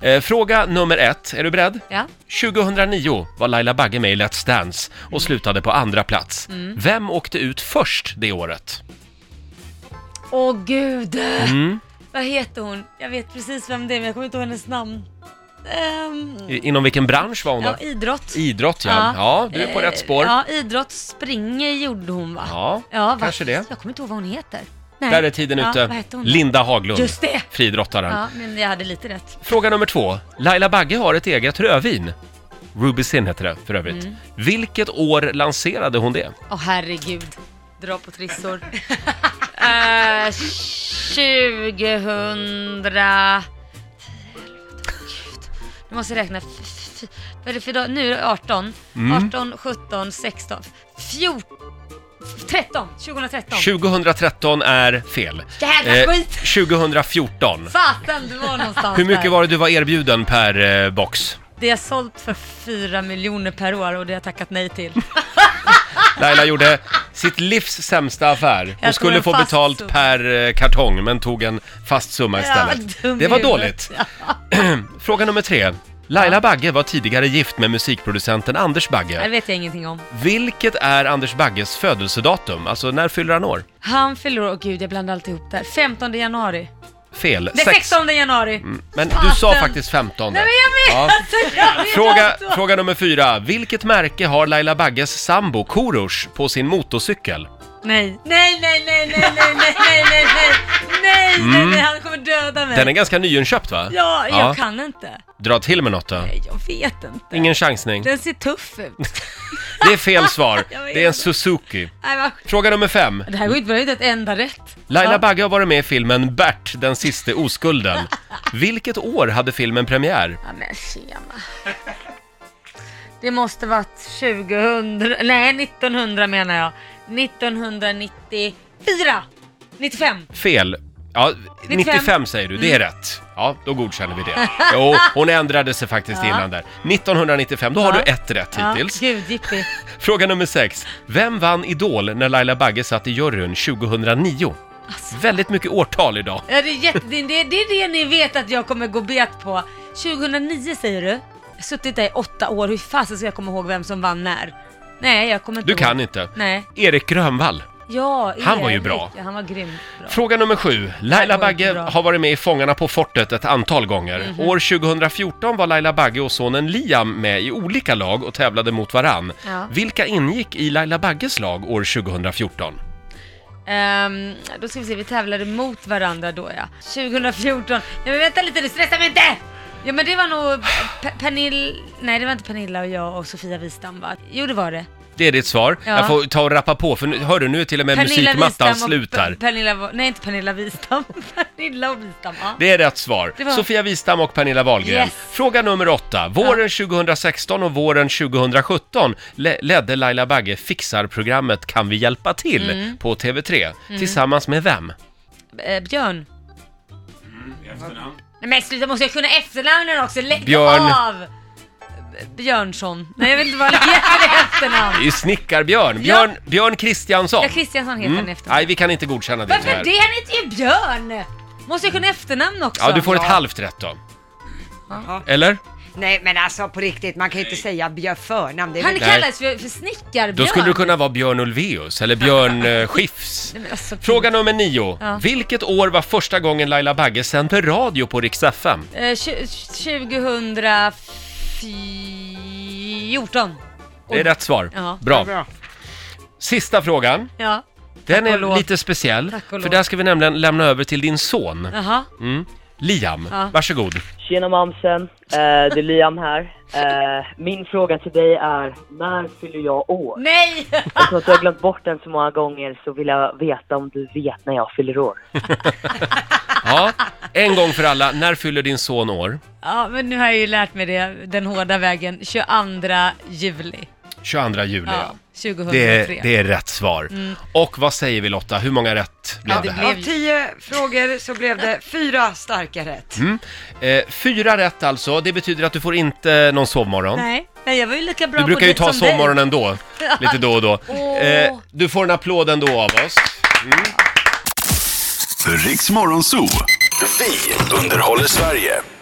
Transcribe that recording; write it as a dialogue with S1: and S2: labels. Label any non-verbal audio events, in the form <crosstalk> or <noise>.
S1: Eh, fråga nummer ett, är du beredd?
S2: Ja.
S1: 2009 var Laila Bagge med i Let's Dance
S2: Mm.
S1: och slutade på andra plats. Vem åkte ut först det året?
S2: Åh gud!
S1: Mm.
S2: Vad heter hon? Jag vet precis vem det är men jag kommer inte ihåg hennes namn. Ehm,
S1: I, inom vilken bransch var hon då?
S2: ja, idrott.
S1: Idrott, ja. Ja, du är på
S2: Eh,
S1: rätt spår.
S2: Ja, idrott, springer gjorde hon va?
S1: Ja,
S2: ja va?
S1: kanske det.
S2: Jag kommer inte ihåg vad hon heter. Nej.
S1: Där är tiden
S2: ja,
S1: ute.
S2: Vad hette hon?
S1: Linda Haglund,
S2: Just det!
S1: friidrottaren.
S2: Ja, men jag hade lite rätt.
S1: Fråga nummer två. Laila Bagge har ett eget rödvin. Ruby Sin heter det för övrigt.
S2: Mm.
S1: Vilket år lanserade hon det?
S2: Åh herregud. Dra på trissor. Eh, 2000... Gud. Nu måste jag räkna. F- f- f- Vad är det för dag? Nu är det 18.
S1: Mm.
S2: 18, 17, 16, 14... 13! 2013.
S1: 2013 är fel. Eh,
S2: Jävla skit!
S1: 2014.
S2: Fasen, du var någonstans
S1: Hur mycket
S2: där.
S1: var det du var erbjuden per eh, box?
S2: Det har sålt för 4 miljoner per år och det har jag tackat nej till.
S1: Laila gjorde sitt livs sämsta affär. Hon
S2: tog
S1: skulle
S2: en
S1: få
S2: fast
S1: betalt
S2: summa.
S1: per eh, kartong men tog en fast summa istället.
S2: Ja, dum
S1: det var
S2: i huvudet.
S1: dåligt. <clears throat> Fråga nummer tre. Laila Bagge var tidigare gift med musikproducenten Anders
S2: Det
S1: Bagge.
S2: vet jag ingenting om.
S1: Vilket är Anders Bagges födelsedatum? Alltså när fyller han år?
S2: Han fyller år, åh gud jag blandar alltid ihop där. 15 januari.
S1: Fel.
S2: Det är
S1: Sex. Mm.
S2: 16 januari.
S1: Men du sa
S2: Fasen.
S1: faktiskt 15.
S2: Nej men jag <laughs> menar
S1: Ja.
S2: alltså, jag menar
S1: Fråga,
S2: alltså.
S1: fråga nummer fyra. Vilket märke har Laila Bagges sambo Korosh på sin motorcykel?
S2: Nej, nej, nej, nej, nej, nej, nej, nej, nej, nej, nej, nej, nej, han kommer döda mig.
S1: Mm. Den är ganska nyinköpt va?
S2: Ja, jag kan inte.
S1: Dra till med något då.
S2: Nej, Jag vet inte.
S1: Ingen chansning.
S2: Den ser tuff
S1: <laughs>
S2: ut.
S1: Det är
S2: <laughs>
S1: fel svar.
S2: Jag vet.
S1: Det är en Suzuki.
S2: nej, vad-
S1: Fråga nummer fem.
S2: det här går inte, vi har inte ett enda rätt.
S1: Laila
S2: Ja.
S1: Bagge har varit med i filmen Bert, den siste oskulden. Vilket år hade filmen premiär?
S2: Ja, men tjena. Det måste varit 2000, nej 1900 menar jag. 1994, 95.
S1: Fel. Ja, 95,
S2: 95.
S1: säger du, det är
S2: Mm.
S1: rätt. Ja, då godkänner vi det. Jo, hon ändrade sig
S2: <laughs>
S1: faktiskt innan där. 1995, då har
S2: Ja.
S1: du ett rätt hittills.
S2: Ja, gud, jippi.
S1: Fråga nummer sex. Vem vann Idol när Laila Bagge satt i juryn 2009?
S2: Alltså.
S1: Väldigt mycket årtal idag.
S2: Ja, det, är jätte, det, det, det är det ni vet att jag kommer gå bet på. 2009 säger du? Jag har suttit där i åtta år, hur fasen ska jag komma ihåg vem som vann när? Nej, jag kommer inte
S1: Du kan
S2: ihåg.
S1: inte.
S2: Nej.
S1: Erik Grönvall.
S2: Ja,
S1: Han var ju
S2: Erik.
S1: bra.
S2: Ja, han var grymt bra.
S1: Fråga nummer sju. Laila
S2: Det var inte
S1: Bagge
S2: bra. Mhm.
S1: har varit med i Fångarna på fortet ett antal gånger. År 2014 var Laila Bagge och sonen Liam med i olika lag och tävlade mot varann.
S2: Ja.
S1: Vilka ingick i Laila Bagges lag år 2014?
S2: Ehm, då ska vi se, vi tävlade mot varandra då ja. 2014. Nej men vänta lite nu, stressa mig inte! Ja men det var nog P- Pernilla, nej det var inte Pernilla och jag och Sofia Wistam va? Jo det var det.
S1: Det är ditt svar.
S2: Ja.
S1: Jag får ta och rappa på för nu, hörru, nu är till och med
S2: Pernilla
S1: musikmattan
S2: Wistam och
S1: slut här.
S2: P- Pernilla, var- nej inte Pernilla Wistam, <laughs> Pernilla och Wistam ja.
S1: Det är rätt svar.
S2: Det var-
S1: Sofia Wistam och Pernilla Wahlgren.
S2: Yes.
S1: Fråga nummer åtta. Våren 2016 och våren 2017 le- ledde Laila Bagge fixarprogrammet Kan vi hjälpa till?
S2: Mm.
S1: på TV3. Tillsammans med vem?
S2: Eh, Björn. Nej men sluta, måste jag kunna efternamnen också? Lägg
S1: Björn.
S2: av! B- Björnsson. Nej jag vet inte vad han heter i
S1: Det
S2: efternamn.
S1: är ju Snickarbjörn. Björn, Björn Kristiansson.
S2: Ja Kristiansson heter han i efternamn.
S1: Mm. Nej, vi kan inte godkänna det
S2: Varför
S1: tyvärr.
S2: det? Han heter ju Björn! Måste jag kunna efternamn också?
S1: Ja, du får ett halvt rätt då. Eller?
S3: Nej men alltså på riktigt, man kan ju inte säga Björn förnamn. Det är
S2: Han
S3: väl-
S2: kallas för, för snickarbjörn.
S1: Då skulle du kunna vara Björn Ulvaeus eller Björn
S2: <laughs>
S1: eh, Skifs.
S2: Nej, men alltså,
S1: Fråga nummer nio.
S2: Ja.
S1: Vilket år var första gången Laila Bagge sände radio på Rix FM?
S2: Eh, tju- 2014.
S1: Det är rätt svar.
S2: Ja.
S1: Bra.
S3: Bra.
S1: Sista frågan.
S2: Ja,
S1: Den
S2: och
S1: är
S2: lov.
S1: lite speciell.
S2: Tack och
S1: För
S2: lov.
S1: där ska vi nämligen lämna över till din son.
S2: jaha.
S1: Mm. Liam,
S2: Ja.
S1: varsågod.
S4: Tjena mamsen, eh, det är Liam här. Eh, min fråga till dig är, när fyller jag år?
S2: Nej! <laughs>
S4: Eftersom att du har glömt bort den så många gånger så vill jag veta om du vet när jag fyller år.
S1: Ja, en gång för alla, när fyller din son år?
S2: Ja, men nu har jag ju lärt mig det den hårda vägen. 22 juli.
S1: 22 juli.
S2: Ja, 2003.
S1: Det är, det är rätt svar. Och vad säger vi Lotta, hur många rätt blev
S2: Ja,
S1: det
S2: det
S1: här?
S2: blev-
S3: Av tio frågor så blev det fyra starka rätt.
S1: Eh, fyra rätt alltså, det betyder att du får inte någon sovmorgon.
S2: Nej, nej, jag var ju lika bra
S1: Du
S2: på
S1: brukar ju
S2: det
S1: ta
S2: som dig.
S1: sovmorgon
S2: <laughs>
S1: ändå, lite då och då.
S2: Åh.
S1: Eh, du får en applåd ändå av oss.
S5: Riks Morgonzoo. Vi underhåller Sverige.